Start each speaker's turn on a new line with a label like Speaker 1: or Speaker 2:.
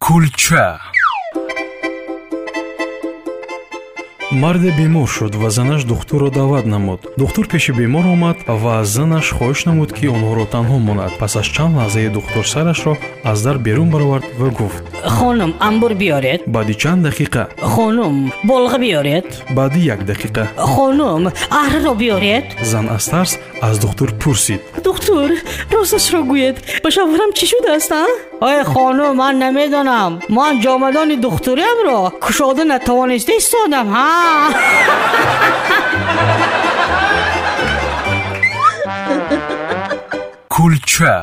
Speaker 1: кулча
Speaker 2: марде бемор шуд ва занаш духтурро даъват намуд духтур пеши бемор омад ва аз занаш хоҳиш намуд ки онҳоро танҳо монад пас аз чанд лаҳзае духтур сарашро аз дар берун баровард ва гуфт
Speaker 3: хонум амбур биёред
Speaker 2: баъди чанд дақиқа
Speaker 3: хонум болға биёред
Speaker 2: баъди як дақиқа
Speaker 3: хонум аҳрро биёред
Speaker 2: зан аз тарс аз духтур пурсид
Speaker 4: духтур росташро гӯед ба шавҳарам чӣ шудааст а
Speaker 3: ой хонум ман намедонам ман ҷомадони духтуриамро кушода натавониста истодам ҳа
Speaker 1: кулча